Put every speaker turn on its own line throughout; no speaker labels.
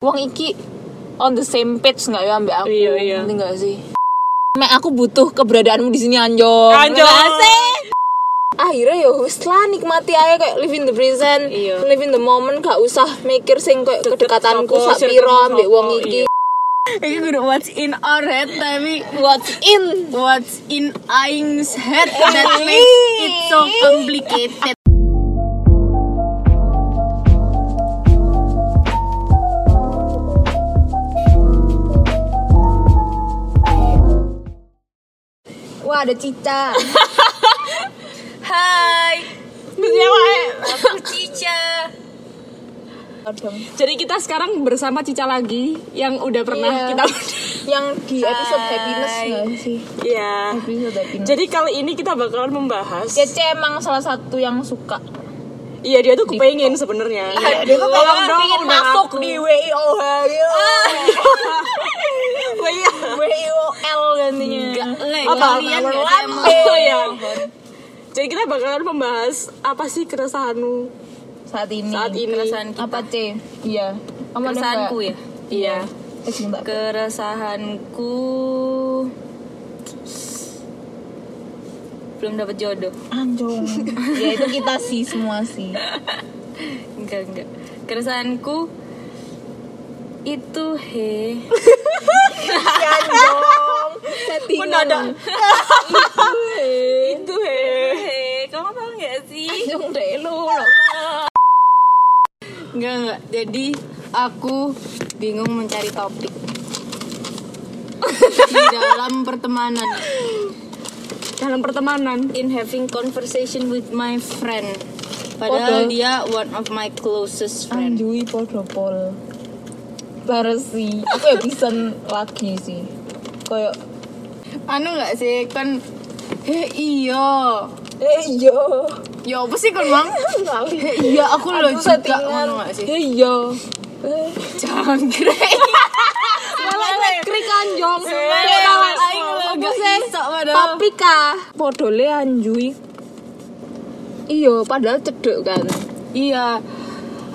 Wong iki on the same page nggak ya ambek aku?
Iya, iya.
Ngerti nggak sih? Mek aku butuh keberadaanmu di sini anjong.
Anjong.
Nggak sih? Akhirnya ya wis lah nikmati aja kayak live in the present,
Iya.
live in the moment gak usah mikir sing kayak
Deket
kedekatanku
sopo,
sak
circle
piro ambek
sopo,
wong iki.
Iki kudu what's in our head tapi
What's in? Eh,
what's in Aing's head that makes it so complicated. Wah ada Cica. Hai.
Iya,
Aku Cica.
Jadi kita sekarang bersama Cica lagi yang udah pernah
Iya.
kita
Yang di episode happiness nggak sih?
Iya.
Episode happiness.
Jadi kali ini kita bakalan membahas.
Cece emang salah satu yang suka.
Ya, Iya dia tuh kepengen sebenarnya.
dia tuh
Tolong
pengen-
dong
pengen
undang
masuk
aku.
di WIOH gitu.
Oh, iya.
WIOL gantinya.
Apa?
Kalian
Power
gak ada yang
lampu.
mau-
Oh, iya. Jadi kita bakalan membahas apa sih keresahanmu
Saat ini.
saat ini.
Apa C? Iya. Kamu Eh,
Perasaanku ya.
Iya.
Ke
keresahanku belum dapat jodoh
anjong. ya itu kita sih semua sih.
enggak enggak keresahanku itu he
Anjong.
Mendadak. Itu heh.
he kamu tau nggak sih
Anjong deh lu.
enggak enggak jadi aku bingung mencari topik di dalam pertemanan
Dalam pertemanan.
in having conversation with my friend padahal
Padahal.
dia one of my closest friend
Anjui podo pol. Bares sih. Aku ya bisa lagi sih. Kayak
anu nggak sih kan eh iya
eh yo.
ya apa sih kan bang
Lali.
iya aku lo
Aku
juga
settingan.
ngono nggak sih
Eh yo. Eh.
jangkrik
Malah elektrik anjong.
Eh,
Malah
aing
aing
lo
lho.
bisa padahal
Tapi kah podole anjui. Iya, padahal cedek kan.
iya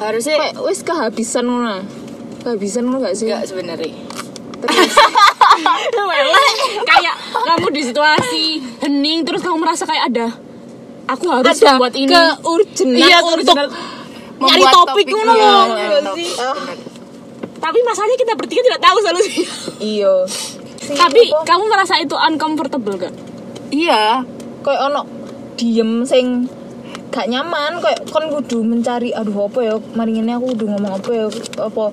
harusnya
Kayak wis kehabisan ngono. Kehabisan ngono gak sih?
enggak sebenarnya
kayak kamu di situasi hening terus kamu merasa kayak ada aku harus
Ada
buat ini
keurgenan
Iya,
untuk
keurgenan.
Nah, Membuat
nyari topik
topik,
ngono
iya,
loh.
iya.
Iya sih. Ah,
tapi masalahnya kita bertiga tidak tahu solusinya
Iya. Sing
tapi
apa?
kamu merasa itu uncomfortable gak
iya
kayak ono diem sing gak nyaman kayak kon kudu mencari aduh apa ya maringine aku kudu ngomong apa ya apa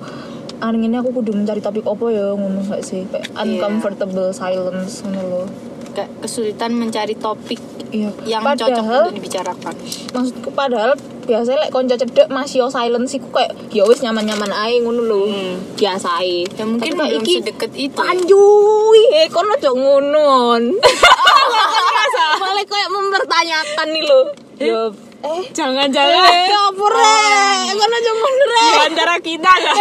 maringine aku kudu mencari topik apa ya ngomong gak sih kayak uncomfortable silence ngono lho.
Kayak kesulitan mencari topik
Iya.
yang cocok
padahal
untuk dibicarakan
maksudku padahal biasanya lek konco cedek masih yo silence iku kayak ya wis nyaman-nyaman ae ngono lho.
Hmm.
Biasa ae.
ya mungkin
Hmm. Tapi kayak
belum
iki
sedekat itu ya.
Anjuy, eh kon ojo ngono. Malah kayak mempertanyakan nih lo. Yo, eh,
jangan-jangan
apa rek? Kon ojo ngono
di
rek.
antara kita gak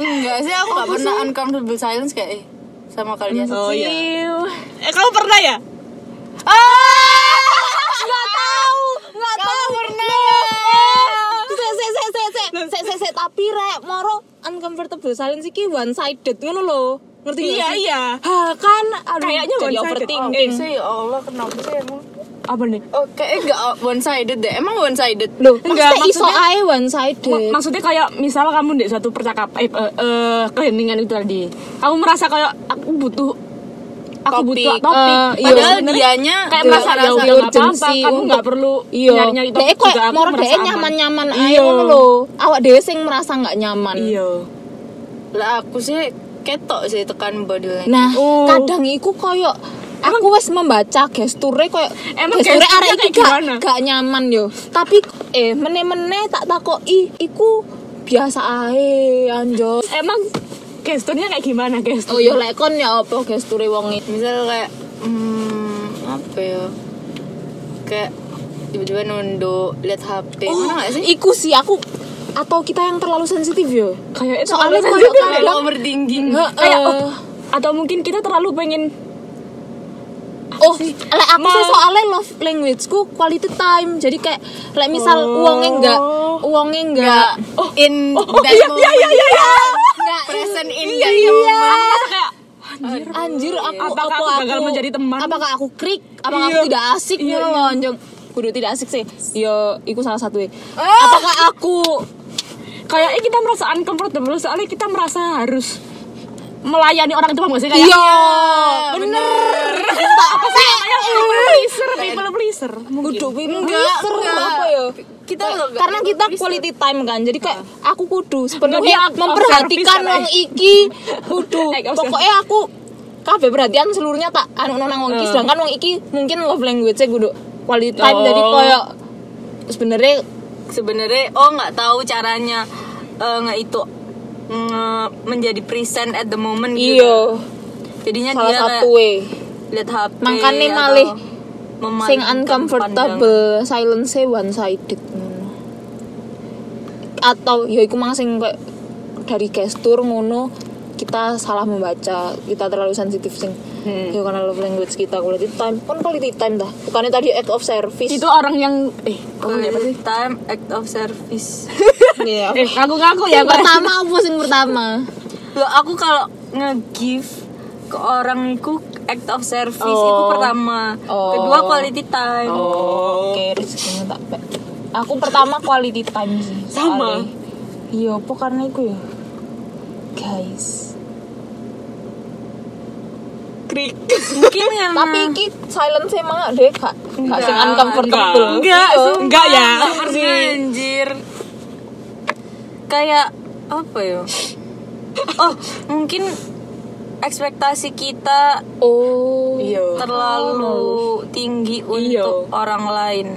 enggak sih aku nggak pernah uncomfortable silence kayak eh sama kalian
Oh, iya.
Iu.
eh kamu pernah ya Ah!
Nggak tahu, nggak tahu. Sek, sek, sek, sek, sek. Sek, sek, sek. tapi rek moro uncomfortable silence iki one sided ngono lho. Ngerti nggak
iya
sih?
iya
Hah, kan aduh,
Kayaknya
jadi
one-sided. Oh.
overthinking.
sih ya Allah kenapa sih emang
apa nih
Oh, kayaknya enggak one sided deh. Emang one sided?
Loh,
Enggak,
maksudnya iso
maksudnya-
ae one sided.
Ma- maksudnya kayak misal kamu di suatu percakapan eh, eh, eh, keheningan itu tadi kamu merasa kayak aku butuh aku
Topik.
butuh topik
Eh, iya.
padahal
Padahal dianya
kayak
Iya,
merasa
ada
ya udah nggak apa-apa
urgensi
kamu nggak
untuk-
perlu
iya
nyari nyari
Dek, kok moro dek nyaman nyaman aja ngono lho awak dhewe sing merasa nggak nyaman
iya
lah aku sih ketok sih tekan body language.
nah
Oh.
kadang iku koyo aku wes membaca gesture koyo
Emang
gesture
gesturnya
arek iki
kayak
gak,
gimana?
gak nyaman yo tapi eh meneh-meneh tak takoki iku biasa ae anjo
emang gesturnya kayak gimana gestur
oh yo lek kon ya apa gesture wong iki
Misal kayak hmm, apa ya? Kayak tiba-tiba nunduk lihat HP.
Eh,
oh
Mana enggak sih?
iku sih aku atau kita yang terlalu sensitif yo
kayak eh, itu
Soalnya
terlalu
kalau-
sensitif. Hmm.
Kalau overthinking.
oh,
Heeh.
kayak oh, atau mungkin kita terlalu pengen
oh lek aku sih soalnya love languageku quality time jadi kayak lek misal
Oh.
uangnya enggak uangnya enggak
in
Oh, oh,
that
iya, iya,
moment,
iya, iya, iya.
enggak
present in
iya
that
iya
Aku kayak,
anjir aku
Apakah
apa
aku gagal menjadi teman?
apakah aku krik apakah
Iya.
aku tidak asik
Iya,
iya,
iya.
loh anjing kudu tidak asik sih yo iku salah satu eh.
Ah.
apakah aku
kayaknya "Eh, kita merasa uncomfortable soalnya kita merasa harus melayani orang itu paham gak sih kayak
iya
bener
Entah apa sih
kayak
eh,
people pleaser people pleaser
kudu
enggak
pinter
enggak.
apa ya
kita loh enggak-
karena kita quality time kan jadi kayak aku kudu
Bagi
sebenarnya
aku
memperhatikan
observis,
wong
katanya.
iki kudu
Like observis.
pokoknya aku kabeh perhatian seluruhnya tak anu nang wong iki
Eh.
sedangkan wong iki mungkin love language-nya kudu quality time
Oh.
jadi koyo sebenarnya
sebenarnya oh nggak tahu caranya eh, nggak itu nge- menjadi present at the moment gitu. Nah, iya,
iya
jadinya
salah
dia kayak
satu e. we
lihat HP
Makanya
atau
malih
memandang
sing uncomfortable silence-nya one sided atau ya iku mang sing kayak dari gestur ngono kita salah membaca kita terlalu sensitif sing
Hmm.
ya karena love language kita quality time kan quality time dah bukannya tadi act of service
itu orang yang eh kamu
pandangan.
apa sih
time act of service
Iya.
eh aku ngaku ya
yang
Kak.
pertama apa sing pertama
Loh, aku kalau nge-give ke orang itu act of service itu
Oh.
pertama
Oh.
kedua quality time
oh. oke rezekinya tak pe- aku pertama quality time sih
Sama.
soalnya. iya apa karena iku ya guys
krik
mungkin yang
tapi
Hmm.
iki silence e emang deh kak kak sing
Enggak,
uncomfortable
enggak
Iya.
sumpah. enggak ya
Nggak pernah, anjir kayak apa ya oh mungkin ekspektasi kita
oh
iya
terlalu
Iya.
tinggi untuk orang lain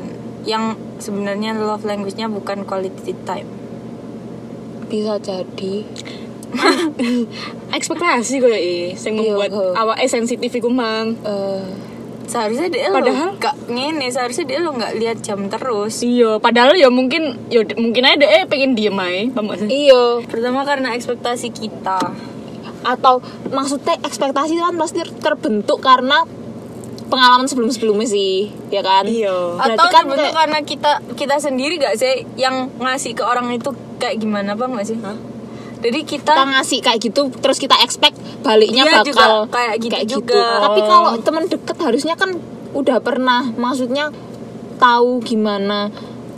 yang sebenarnya love language-nya bukan quality time.
bisa jadi
ekspektasi gue eh yang membuat
Iya, kok.
awak eh sensitif iku mang
eh
Seharusnya dia
Padahal-
lo gak ngene, seharusnya dia lo gak lihat jam terus.
iya padahal ya mungkin ya d- mungkin aja deh pengen diem aja paham gak sih
iyo
Pertama karena ekspektasi kita.
iya. atau maksudnya ekspektasi itu kan pasti terbentuk karena pengalaman sebelum sebelumnya sih ya kan
Iya.
berarti
Atau
kan
sebenarnya
kayak-
karena kita kita sendiri gak sih yang ngasih ke orang itu kayak gimana apa gak sih? Jadi kita,
kita ngasih kayak gitu terus kita expect baliknya
Iya, juga
bakal
kayak gitu juga.
tapi kalau teman deket harusnya kan udah pernah maksudnya tahu gimana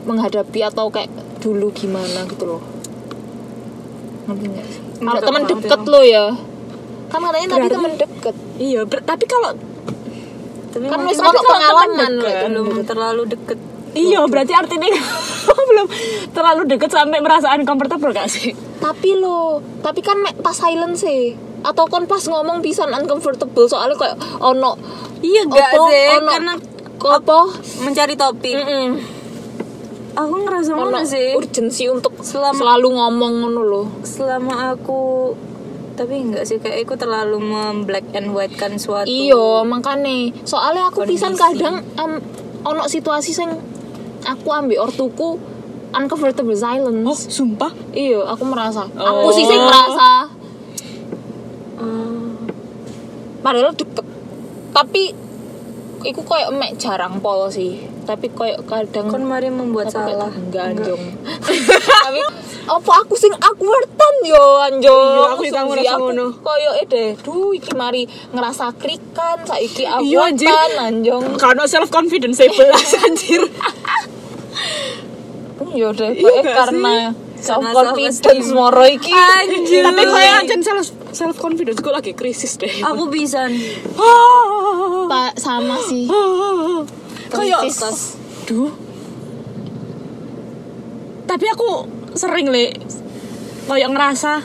menghadapi atau kayak dulu gimana gitu loh ngerti nggak sih kalau
Nggak
teman
banget
deket lo ya kan katanya tadi
Berarti-
teman deket
iya ber- tapi kalau
tapi
kan
mungkin-
wis
tapi
ono
kalau teman
pengalaman
deket,
lho, kan.
belum terlalu deket.
Iya, berarti artinya kamu belum terlalu deket sampai merasa uncomfortable gak sih?
tapi lo tapi kan mek pas silent sih atau kon pas ngomong pisan uncomfortable soalnya kayak ono
Iya gak
opo,
sih?
ono
Karena
opo
mencari topik.
Mm-mm.
Aku ngerasa
ono
mana sih?
urgensi untuk
Selama-
selalu ngomong ngono lo
selama aku tapi enggak sih kayak aku terlalu memblack and white kan suatu
iyo Iya, makane soalnya aku pisan
Kondisi.
kadang am- ono situasi sing aku ambil ortuku uncomfortable silence
Oh, sumpah.
iyo aku merasa
Oh.
aku sih sing merasa
Ah,
Eh, padahal deket tapi iku koyo mek jarang pol sih tapi koyo kadang
kan mari membuat
Tapi kayak
salah
enggak anjong tapi apa aku sing awkwardan yo anjong
Iya, aku juga ngerasa ngono.
koyo deh duh iki mari ngerasa krikan saiki
Iya, anjir.
awkwardan anjong
Karena self confidence saya belas anjir.
Hmm, yo deh
Iya
koyo
gak
karena self
Karena
confidence
self-esteem.
moro iki
Anjir.
Tapi saya aja self self confidence gue lagi krisis deh.
aku bisa
Ah,
Pa- sama sih
ah, Kayak
Krisis.
duh. Tapi aku sering le kayak ngerasa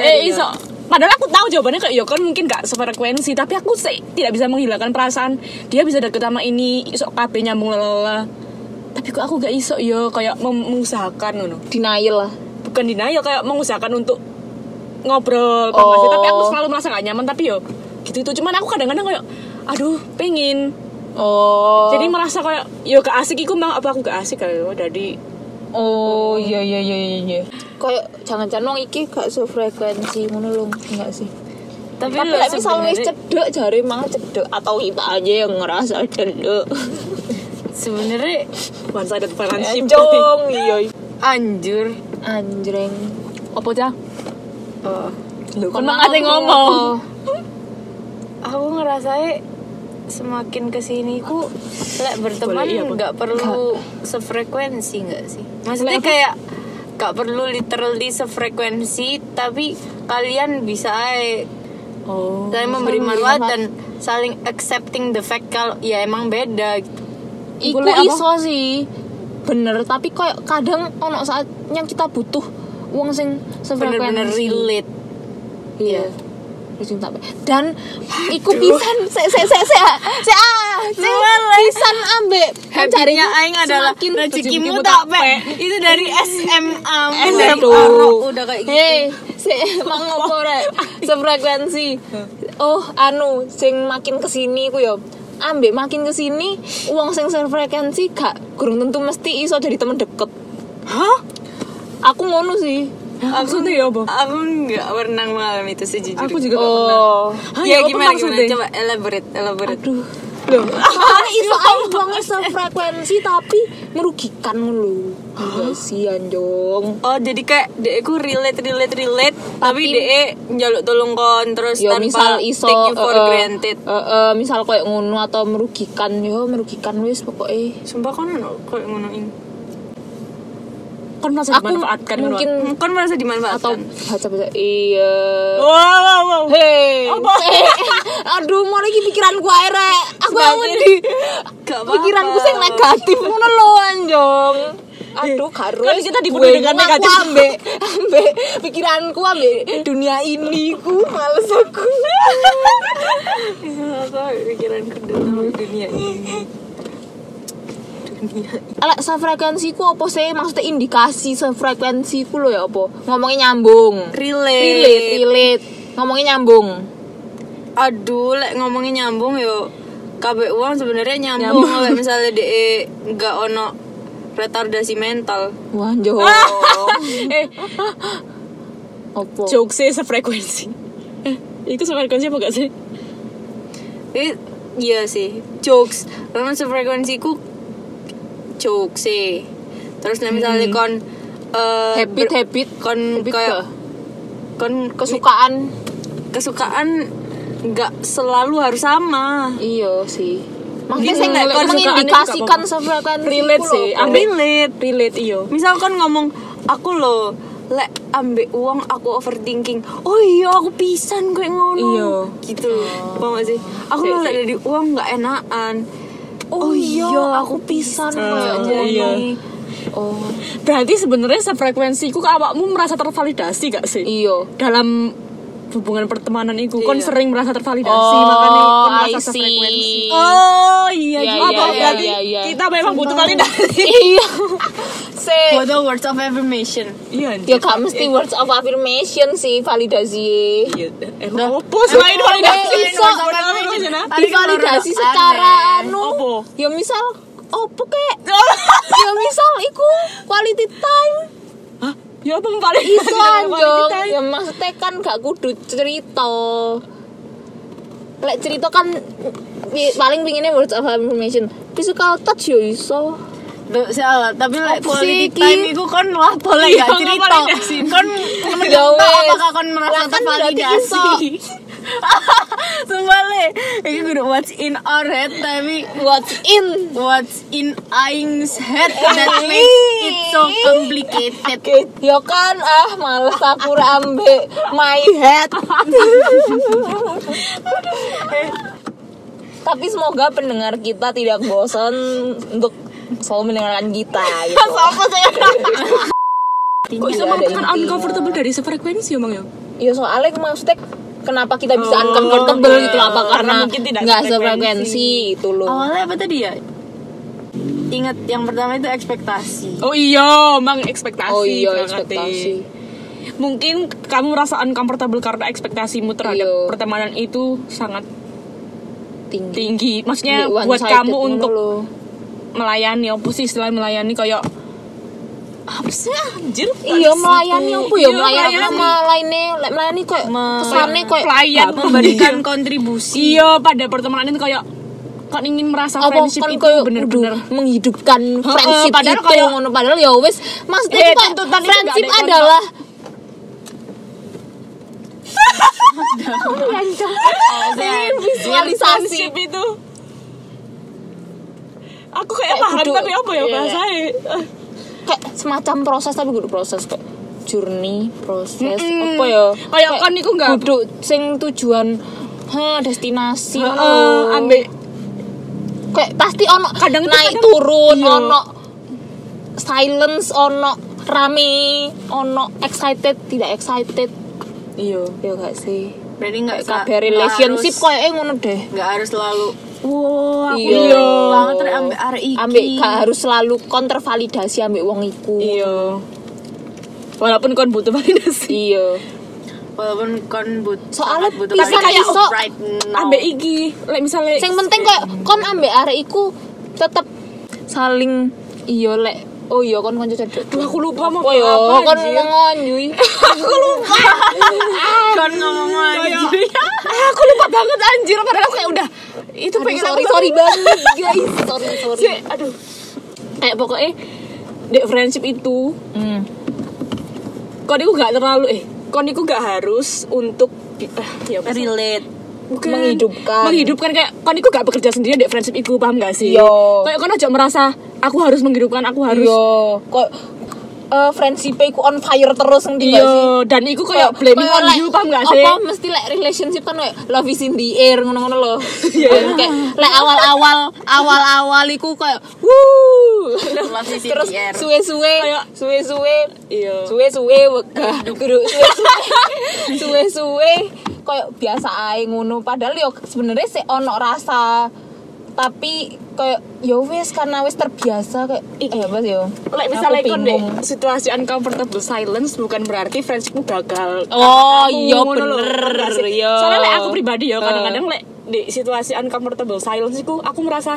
deh
iya.
iso Padahal aku tahu jawabannya kayak ya kan mungkin gak sefrekuensi tapi aku sih tidak bisa menghilangkan perasaan dia bisa deket sama ini iso KB nyambung lala. Tapi kok aku gak iso yo kayak mem- mengusahakan ngono.
denial lah
Bukan denial kayak mengusahakan untuk ngobrol paham gak sih?
Oh.
tapi aku selalu merasa gak nyaman tapi yo gitu itu cuman aku kadang-kadang kayak aduh pengen
oh
jadi merasa kayak yo gak asik iku bang apa aku gak asik kayak jadi
oh iya iya iya iya koyo jangan-jangan wong iki gak sefrekuensi ngono lho enggak sih
Tapi,
tapi
lo
ya,
lek misal wis
sebenarnya-
cedek jari mang cedek atau kita aja yang ngerasa cedek
sebenarnya
One sided friendship.
anjong iya
anjur
anjreng
Apa cah?
oh.
Lu kan
Kon
mang ate
aku
ngomong.
aku ngerasanya semakin kesini ku lek berteman
Boleh iya, Bang.
nggak perlu sefrekuensi nggak sih maksudnya
Lek apa?
kayak nggak perlu literally sefrekuensi tapi kalian bisa ae
Oh.
saling
saling
memberi manfaat
melihat.
dan saling accepting the fact kalau ya emang beda gitu.
iku
Boleh apa?
iso sih bener tapi kayak kadang ono saatnya kita butuh uang sing
bener-bener
sefrekuensi
relate
iya Ujung tak- dan iku pisan se se se se se ah se pisan ambek
Happy-nya
pencariku
Aing adalah
semakin
rezekimu
rezekimu tak
tak pe. Itu dari SMA mu,
SMA.
dari Arok udah kayak gitu.
Hei, se mang opo rek? Sefrekuensi. Oh, anu sing makin kesini ku yo ambek makin kesini uang sing sefrekuensi gak kurang tentu mesti iso dari temen deket.
Hah?
Aku ngono sih.
Maksudnya ya apa?
Aku nggak pernah mengalami itu sejujurnya.
Aku juga gak pernah.
Oh.
Hah, ya
ya
apa
gimana gimana
maksudnya?
coba elaborate elaborate.
Aduh. Loh, kan iso
Ya
ae banget sefrekuensi tapi merugikan lu. Enggak sih anjong.
Oh jadi kayak dek aku relate relate relate tapi, dek njaluk tolong kon terus
Ya
tanpa
misal iso
take you for
eh, eh,
granted.
eh, eh, misal kayak ngono atau merugikan yo merugikan wis pokoknya
Sumpah kon ono koyo ngono ini.
Kan merasa
Aku
dimanfaatkan kan,
mungkin
Hmm, Kon merasa
atau
dimanfaatkan.
baca baca iya
Wak? Wow wow wow.
hei Eh, aduh mau lagi pikiranku ae rek aku yang
Sebagai-
ngendi
Gak apa-apa.
pikiranku sing negatif ngono lho anjong aduh karo
kan kita dipenuhi dengan negatif.
aku ambek ambek pikiranku ambek dunia ini ku males aku
Apa Iya, pikiranku dalam dunia ini. Dunia
Alek sefrekuensiku apa sih maksudnya indikasi sefrekuensiku lho ya apa ngomongnya nyambung
relate.
relate relate ngomongnya nyambung
Aduh, lek ngomongin nyambung yo. Kabeh uang sebenarnya nyambung, lek misalnya dek nggak ono retardasi mental.
wah anjong
Eh,
apa
jokesnya sefrekuensi. Eh, itu sefrekuensi apa gak sih?
Eh, iya sih, jokes. Karena sefrekuensiku jokes sih. Terus lek misalnya kon
Hmm.
eh,
habit
ber-
habit
kon
habit
kayak
kah?
kon
kesukaan
kesukaan nggak selalu harus sama.
iya sih maksudnya
Gini,
saya nggak
lek
kon
kesukaannya
mengindikasikan
juga
sefrekuensi
Relate
ku
sih,
lho, Ah,
ambek-
Relate.
Relate iya. iyo.
Misal kan ngomong aku lo lek ambek uang aku overthinking. Oh iya aku pisan gue ngono.
Iya.
Gitu. Paham gak sih? Aku lo lek dari uang nggak enakan.
Iya oh iya aku pisan kayak
Iya.
ngono.
iya.
oh
Berarti sebenarnya sefrekuensiku ke awakmu merasa tervalidasi gak sih?
iya
Dalam hubungan pertemanan itu kon
Iya.
sering merasa tervalidasi
Oh,
makanya kon
I see.
merasa sefrekuensi. Oh iya,
Iya,
apa
iya,
berarti
iya, iya.
kita memang butuh validasi.
iya se
the words of affirmation.
Iya.
ya gak mesti words of affirmation sih validasi
Iya, Emang opo selain
Nah,
validasi?
Eh, iso.
Words of affirmation, ah?
divalidasi secara anu
Apa?
ya misal opo kek ya misal iku quality time
Hah? Ya apa paling
Iya,
iso anjong ya maksudnya kan gak kudu cerita lek cerita kan pi- paling pinginnya words of affirmation physical touch yo iso
Duh, salah, tapi lek
Apa sih,
quality
Ki?
time iku kon lah boleh
Iya,
gak cerita.
ngevalidasi.
Kon menjawab
Ya wes.
apakah kon merasa
Lah, kan berarti
tervalidasi. Sumpah le, ini kudu what's in our head tapi
what's in
What's in Aing's head that makes it so complicated?
yo kan ah males aku ra ambek my head tapi semoga pendengar kita tidak bosan untuk selalu mendengarkan kita gitu.
Kok
Iya, ada
iso makan
intinya.
uncomfortable dari sefrekuensi emang ya?
Ya soalnya maksudnya kenapa kita bisa uncomfortable gitu loh, apa
Oh, iya. karena
karena
mungkin tidak
nggak
sefrekuensi.
sefrekuensi itu loh.
Awalnya apa tadi ya? Ingat yang pertama itu ekspektasi.
Oh iya, emang ekspektasi.
Oh iya
berangkat deh.
ekspektasi.
Mungkin kamu merasa uncomfortable karena ekspektasimu terhadap
Iya.
pertemanan itu sangat
tinggi. Iya,
tinggi. Maksudnya
Di one
buat
sided
kamu
ngono
untuk
loh.
melayani apa sih istilah melayani kayak apa sih anjir
iya melayani apa ya
Iya,
melayani
melayani.
sama lainnya lek melayani kayak
Me-
kesannya kayak
pelayan
iya.
memberikan kontribusi
iya pada pertemanan itu kayak kan ingin merasa
apa
friendship
kan
itu
kayak
bener-bener
kudu menghidupkan friendship
padahal
itu
kayak-
ngono padahal ya wes maksudnya
Eh,
itu kayak
tuntutan itu
friendship
nggak ada yang
adalah
Friendship
iya, visualisasi
itu aku kayak paham
kudu-
tapi apa ya
iya.
bahasanya
kayak semacam proses tapi kudu proses kayak journey proses apa ya
Kayak kan iku nggak-
kudu sing tujuan ha destinasi
Heeh,
ngono.
ambek
kayak pasti ono
Kadang itu
naik
kadang-
turun
iya.
ono silence ono rame ono excited tidak excited
iya
ya gak sih
berarti nggak
kabeh
nggak
relationship
harus-
koyo ngono deh
nggak harus selalu
wow aku
Iya.
iya
banget rek ambek arek iki
ambek gak harus selalu kontrvalidasi ambek wong iku
iya walaupun kon butuh validasi
iya
walaupun kon but
Soalnya
butuh
bisa
validasi
kayak iso-
right now.
Nah. ambek iki like misalnya
sing penting kayak kon ambek arek iku tetep saling iya lek oh iya kon kanca cedek
Duh, aku lupa mau
oh iya kon
apa, anjir.
ngomong yui
kon ngomong
Iya,
aja
Ah, aku lupa banget anjir padahal aku kayak udah itu
Aduh,
pengen
sorry
aku
sorry banget guys Iya, sorry sorry
Sih, aduh kayak pokoknya dek friendship itu
hmm.
kon iku gak terlalu eh kon iku gak harus untuk eh, ya apa sih?
relate
Bukan.
Menghidupkan. Iya.
menghidupkan kayak kon iku gak bekerja sendiri dek friendship iku paham gak sih
Yo.
kayak kon aja merasa aku harus menghidupkan aku harus
Yo, Iya, kok eh friendship ku on fire terus ngerti gak sih?
Iya, dan iku kayak blaming
kayak
on
like,
you paham gak sih
Apa mesti like relationship kan kayak love is in the air ngono-ngono loh. kayak like awal-awal awal-awal iku kayak wuh.
Love is in
terus
the air.
suwe-suwe
Kayak-
suwe-suwe
Iya.
suwe-suwe wegah geruk suwe-suwe suwe-suwe kayak biasa ae ngono padahal yo sebenarnya sih ono rasa tapi kayak yo wis karena wis terbiasa kayak eh, apa sih yo
like
Aku
misalnya kon dek
bingung.
situasi uncomfortable silence bukan berarti friendshipmu gagal
Oh,
Aku
iya,
ngono lho,
bener,
paham gak sih?
iya.
soalnya like, aku pribadi ya
Eh.
kadang-kadang like di situasi uncomfortable silence iku aku merasa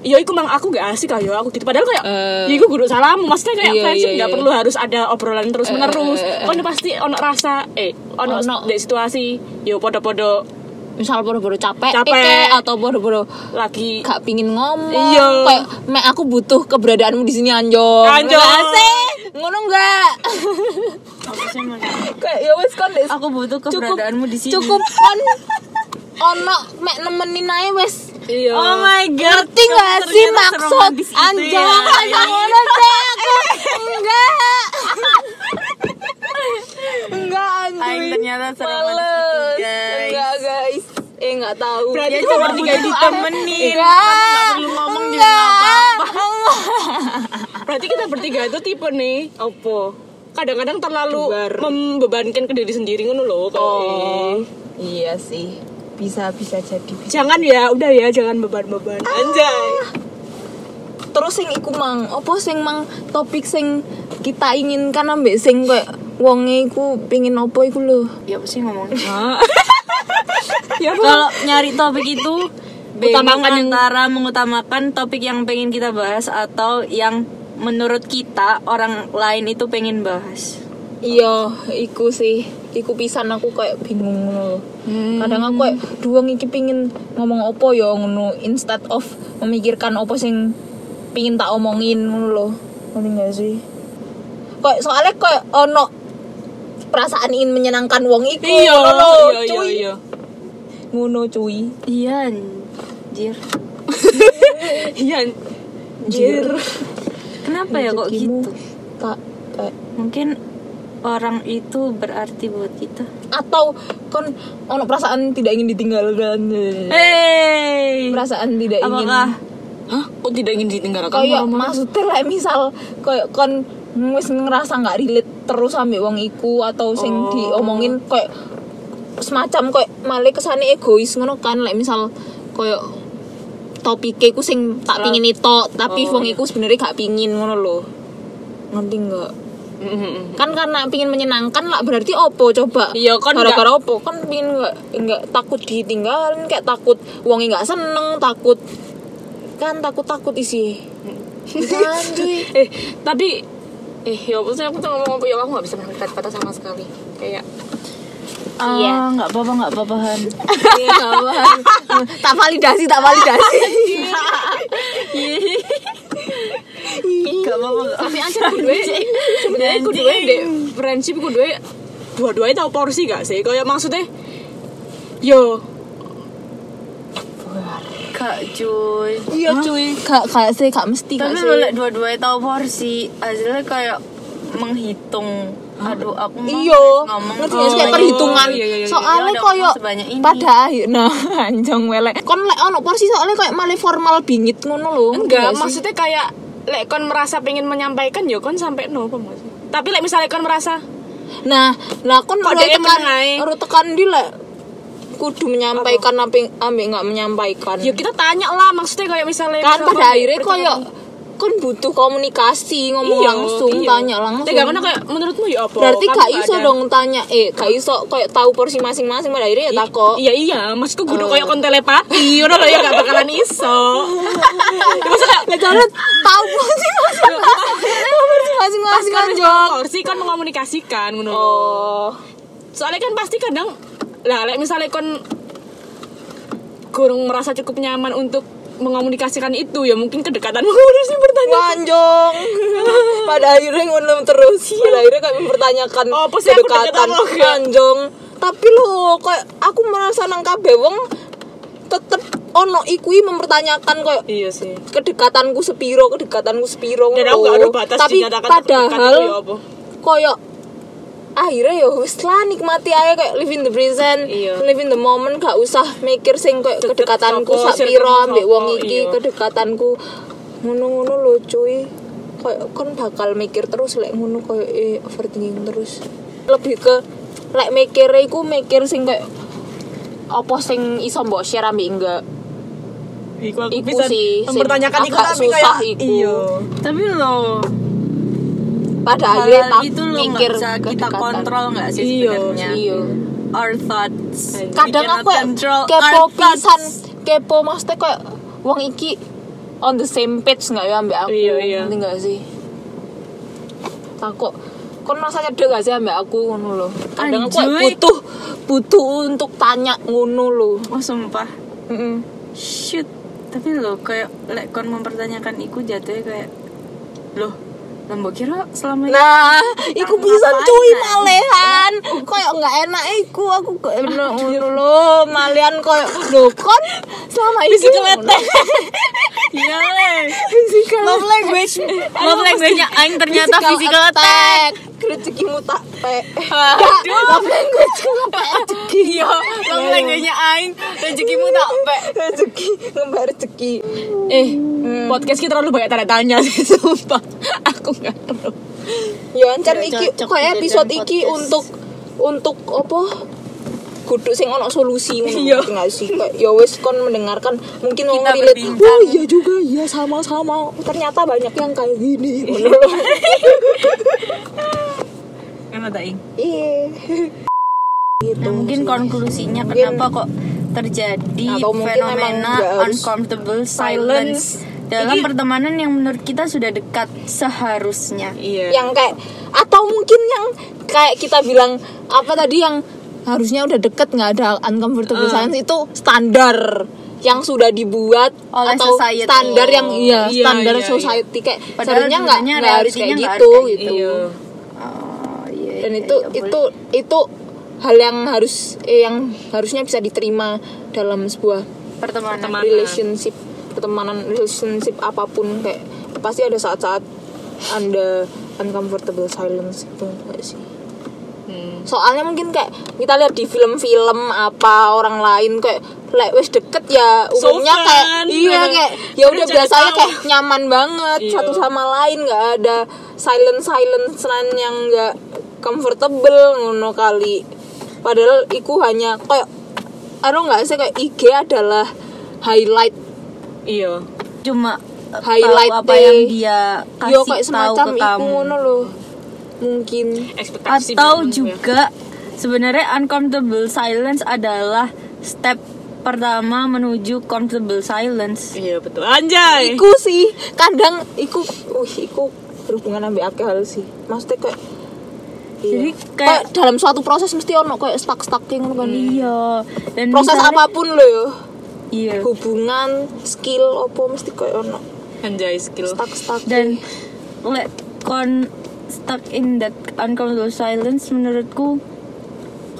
Iya, iku mang aku gak asik ayo aku gitu. Padahal kayak,
Eh.
ya iku guru salam. Maksudnya kayak
Iya,
friendship
iya,
gak
iya.
perlu harus ada obrolan terus menerus.
eh, eh, eh.
Kon pasti ono rasa, eh, ono,
Ono.
di situasi, yo podo-podo
misal boro-boro capek,
Capek.
Ike, atau boro-boro
lagi.
gak pingin ngomong
Iya.
kayak mek aku butuh keberadaanmu di sini anjo
Anjo.
ngono enggak kayak ya wes kon
aku butuh keberadaanmu di sini
cukup on ono mek nemenin ae wes
Iya.
oh my god
ngerti gak
kamu
sih
ternyata
maksud
seromantis itu ya.
anjo anjo ngono deh aku enggak enggak
Aing
anjo
ternyata seromantis itu
males
guys
enggak guys eh enggak tahu
Berarti itu
dia
iya,
cuma
berarti
butuh
kayak
ditemenin
Iya.
enggak
perlu ngomong juga
enggak
Berarti kita bertiga itu tipe nih Apa? Kadang-kadang terlalu membebankan ke diri sendiri ngono loh kok.
Oh. Iya sih. Bisa bisa jadi.
Jangan ya, udah ya, jangan beban-beban Anjay
Terus sing iku mang, opo sing mang topik sing kita inginkan ambek sing kayak wonge iku pingin opo iku lho.
ya apa sih ngomong
Ya
kalau nyari topik itu
Utamakan
utamakan
yang-
antara mengutamakan topik yang pengen kita bahas atau yang menurut kita orang lain itu pengen bahas
Iya, iku sih. Iku pisan aku kayak bingung ngono. lho. Kadang aku kayak duang iki pingin ngomong opo ya ngono instead of memikirkan opo sing pingin tak omongin ngono lho. Ngerti gak sih? Kayak soalnya kayak ono perasaan ingin menyenangkan wong iku
Iya,
ngono lho,
iya, iya,
Oh, cuy.
iya.
Ngono cuy.
iya anjir
Iya.
Jir.
kenapa ya kok
Rezekimu
gitu
Tak kayak
mungkin orang itu berarti buat kita
atau kon ono perasaan tidak ingin ditinggalkan.
Iya. hey
Perasaan tidak ingin
Eh, apakah
Hah? Kok tidak ingin ditinggalkan?
kayak
Mama?
maksudnya lah misal kayak kon wis ngerasa nggak relate terus sampe wong iku atau sing diomongin kayak semacam kayak malah kesane egois ngono kan like misal kayak topiknya ku sing tak pingin itu tapi wong iku sebenarnya gak pingin ngono lho ngerti nggak
Mm-mm.
kan karena pingin menyenangkan lah berarti opo coba
Iya, kan
gara-gara opo kan pingin nggak nggak takut ditinggalin kayak takut uangnya nggak seneng takut kan takut takut isi Kan, cuy
Eh, tapi eh ya maksudnya aku tuh ngomong apa ya aku nggak bisa mengambil kata-kata sama sekali kayak
Iya. nggak apa-apa, nggak apa-apa Han. Iya,
tak validasi tak validasi
Nggak apa-apa.
tapi anjir gue sebenarnya gue dua deh friendship gue dua dua-duanya tahu porsi gak sih kayak maksudnya yo
kak cuy
Iya cuy. Kak kak sih, kak mesti kak
tapi
sih.
lo lek dua-duanya tahu porsi hasilnya kayak menghitung aduh aku mau
Iya,
ngomong
ngerti gak sih kayak
Oh,
perhitungan.
iya, iya, iya,
Soalnya
iya.
koyo
Sebanyak ini.
pada akhirnya anjong welek. Kon lek ono porsi soalnya kayak malah formal bingit ngono lho. ngerti
enggak
gak sih?
maksudnya kayak lek kon merasa pengen menyampaikan yo kon sampai no apa maksudnya? tapi lek misalnya kon merasa
Nah, lah kon
Kok
mulai
dia
tekan,
menengahi?
ru tekan di lek kudu menyampaikan apa ambek nggak menyampaikan.
yo kita tanya lah maksudnya kayak misalnya
kan
misalnya
pada
kon-
akhirnya koyo kon butuh komunikasi ngomong langsung tanya langsung.
Tapi gak pernah iya. kayak menurutmu ya apa?
Berarti
Kamu
gak iso
ada-
dong tanya eh gak iso kayak tahu porsi masing-masing pada akhirnya ya takok.
Iya iya, maksudku
Oh.
kudu kayak kon telepati, ngono lho ya gak bakalan iso. Ya, Maksudnya
Lah jalan tahu porsi masing-masing. Tahu porsi masing-masing
kan
kan
jong porsi kan mengomunikasikan ngono. lho.
Oh.
Soalnya kan pasti kadang lah like misalnya kon kurang merasa cukup nyaman untuk mengomunikasikan itu ya mungkin kedekatanmu harusnya bertanya
Wanjong. Pada akhirnya ngono terus. Pada akhirnya kayak mempertanyakan
Iya. Oh, apa sih aku ya? deketan lo, Kak?
Wanjong. Tapi lo kayak aku merasa nang kabeh wong tetep ono ikui mempertanyakan kayak
Iya sih.
kedekatanku sepiro, kedekatanku sepiro.
Dan
ngono
aku gak ada
lho.
batas
Tapi
dinyatakan
padahal
kedekatan itu ya apa.
koyo akhirnya ya wis lah nikmati aja kayak live in the present
Iya.
live in the moment gak usah mikir sing kayak
Deket
kedekatanku
sopo,
sak
circle
piro ambek
sopo,
wong iki
iya.
kedekatanku ngono-ngono lho cuy kayak kon bakal mikir terus lek ngono kayak eh, overthinking terus lebih ke lek mikir iku mikir sing kayak apa sing iso mbok share ambek enggak
Iku aku
Iku
bisa
sih, sing
mempertanyakan iku
agak
tapi
susah
kayak iya.
iku.
tapi lo
pada akhirnya
hal
Nah, iya, tak
itu lo nggak
mikir
bisa kita
kedekatan.
kontrol nggak sih
Iya,
sebenarnya
iya
our thoughts
Kadang
kadang
We cannot
aku kayak
control
kepo
our thoughts.
pisan kepo maksudnya kayak wong iki on the same page nggak ya ambek aku
Iya, iya.
Ngerti nggak sih takut kon merasa cedek gak sih ambek aku ngono lho kadang aku kayak
Anjoy.
butuh butuh untuk tanya ngono lho
oh sumpah
Mm-mm.
shoot tapi lo kayak lek kon mempertanyakan iku jatuhnya kayak loh lo mbok kira selama ini
nah iku bisa cuy
apaan?
malehan kayak nggak enak iku aku kayak enak ngono lho malehan kayak lho kon selama ini
iya leh.
physical
love language love language nya aing ternyata physical attack
rezekimu tak pek love language ngepek rezeki
iya love language nya aing rezekimu tak Gitu, pek
rezeki ngembar rezeki
Eh, podcast kita terlalu banyak tanda tanya sih, sumpah. Aku nggak tahu.
ya ancan
Tidak
iki
Iya, cocok
kayak
dijadikan
episode iki
podcast.
untuk untuk apa kudu sing ono solusi ngono
Iya.
ngerti nggak sih kayak ya wis kon mendengarkan mungkin mau
Kita
relate
berbincang.
oh iya juga iya sama-sama ternyata banyak yang kayak gini ngono loh.
Kan
emang tak aing
iya gitu
Nah, mungkin konklusinya kenapa kok terjadi
Atau mungkin emang
fenomena
nggak harus
uncomfortable silence, dalam pertemanan yang menurut kita sudah dekat seharusnya.
Iya.
yang kayak atau mungkin yang kayak kita bilang apa tadi yang harusnya udah deket nggak ada uncomfortable
Ah.
silence itu standar yang sudah dibuat
Oleh
atau
society.
standar yang iya,
Iya,
standar
iya,
society kayak
Padahal
seharusnya nggak
sebenarnya
nggak harus
realitinya
kayak
nggak
gitu
harus kayak
gitu
Iya.
Oh, iya,
dan
iya,
itu
iya,
itu itu hal yang harus eh, yang harusnya bisa diterima dalam sebuah
boleh. pertemanan.
Pertemanan.
relationship pertemanan relationship apapun kayak pasti ada saat-saat anda uncomfortable silence itu nggak sih
Hmm.
soalnya mungkin kayak kita lihat di film-film apa orang lain kayak lek wis deket ya umumnya
Sopan.
kayak iya kayak ya
Terus
udah
jadi
biasanya
tahu.
kayak nyaman banget
Iya.
satu sama lain nggak ada silent silence yang nggak comfortable ngono kali padahal iku hanya kayak aduh nggak sih kayak IG adalah highlight
Iya.
Cuma eh,
Highlight
tahu apa
deh.
yang dia kasih
yo kayak
tahu
semacam
ke
iku
kamu.
ngono loh mungkin gitu
Ekspektasi
Atau
memang, ya.
juga sebenarnya uncomfortable silence adalah step pertama menuju comfortable silence. Eh.
Iya betul. Anjay.
iku sih kadang iku uh iku berhubungan ambil akeh hal sih maksudnya kayak
Jadi
Iya.
kayak- Hmm.
dalam suatu proses mesti ono kayak stuck stuck kayak ngono kan
iya dan
proses
misalnya-
apapun lo yo
iya
Eh.
hubungan skill opo mesti kayak ono
anjay skill
stuck stuck
dan lek kon stuck in that uncomfortable silence menurutku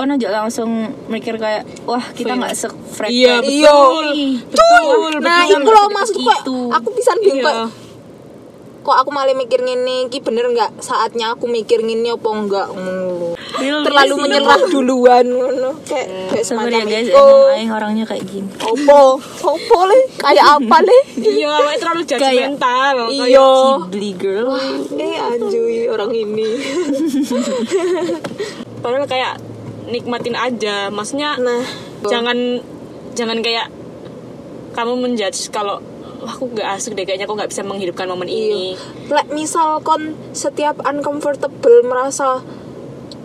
kon aja langsung mikir kayak wah kita nggak gitu sefrekuensi
Iya, betul.
Betul, nah
betul.
itu loh maksud kok
Itu.
aku pisan bingung
Iya.
kok kok aku malah mikir ngene iki bener nggak saatnya aku mikir ngene apa enggak Hmm. ngono lho. terlalu menyerah duluan ngono kayak kayak
sabar ya
semacam
guys
itu
emang aing orangnya kayak gini
opo opo le kayak apa le
iya awake terlalu judgmental
iya
Ghibli girl
eh anjuy orang ini
Kayak- padahal kayak nikmatin aja maksudnya
nah
jangan jangan kayak kamu menjudge kalau "Wah, aku gak asik deh kayaknya aku gak bisa menghidupkan
Iya.
momen ini
Lek misal kon setiap uncomfortable merasa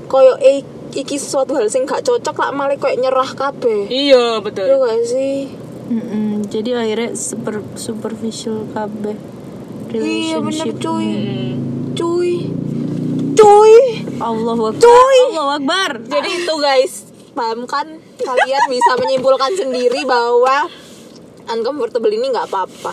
koyo eh, iki sesuatu hal sing gak cocok lah malah koyo nyerah kabeh. Iya
iya betul
gak sih?
Mm-mm, jadi akhirnya super superficial kabeh
Iya bener
relationship
cuy.
Mm.
Cuy. Cuy.
Allahu Akbar
Cuy.
Allahu Akbar
Jadi itu guys, paham kan? Kalian bisa menyimpulkan sendiri bahwa uncomfortable ini nggak apa-apa.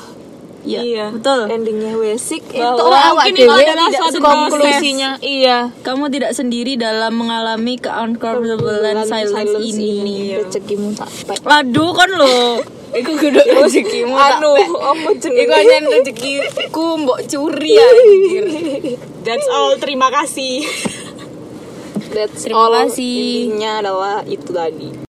Iya,
Iya.
betul
Endingnya wesik itu
Bahwa
awak
mungkin itu
dhewe
adalah
tidak
suatu
konklusinya.
iya
kamu tidak sendiri dalam mengalami ke uncomfortable
Kebetulan
silence,
silence
ini. iya.
ini iya. rezekimu tak pek.
Aduh kan lo
Iku kudu rezekimu
Anu, apa jenenge?
Iku hanya rezekiku mbok curi ya
That's all, terima kasih
That's
Terima
all.
kasih.
Intinya adalah itu tadi.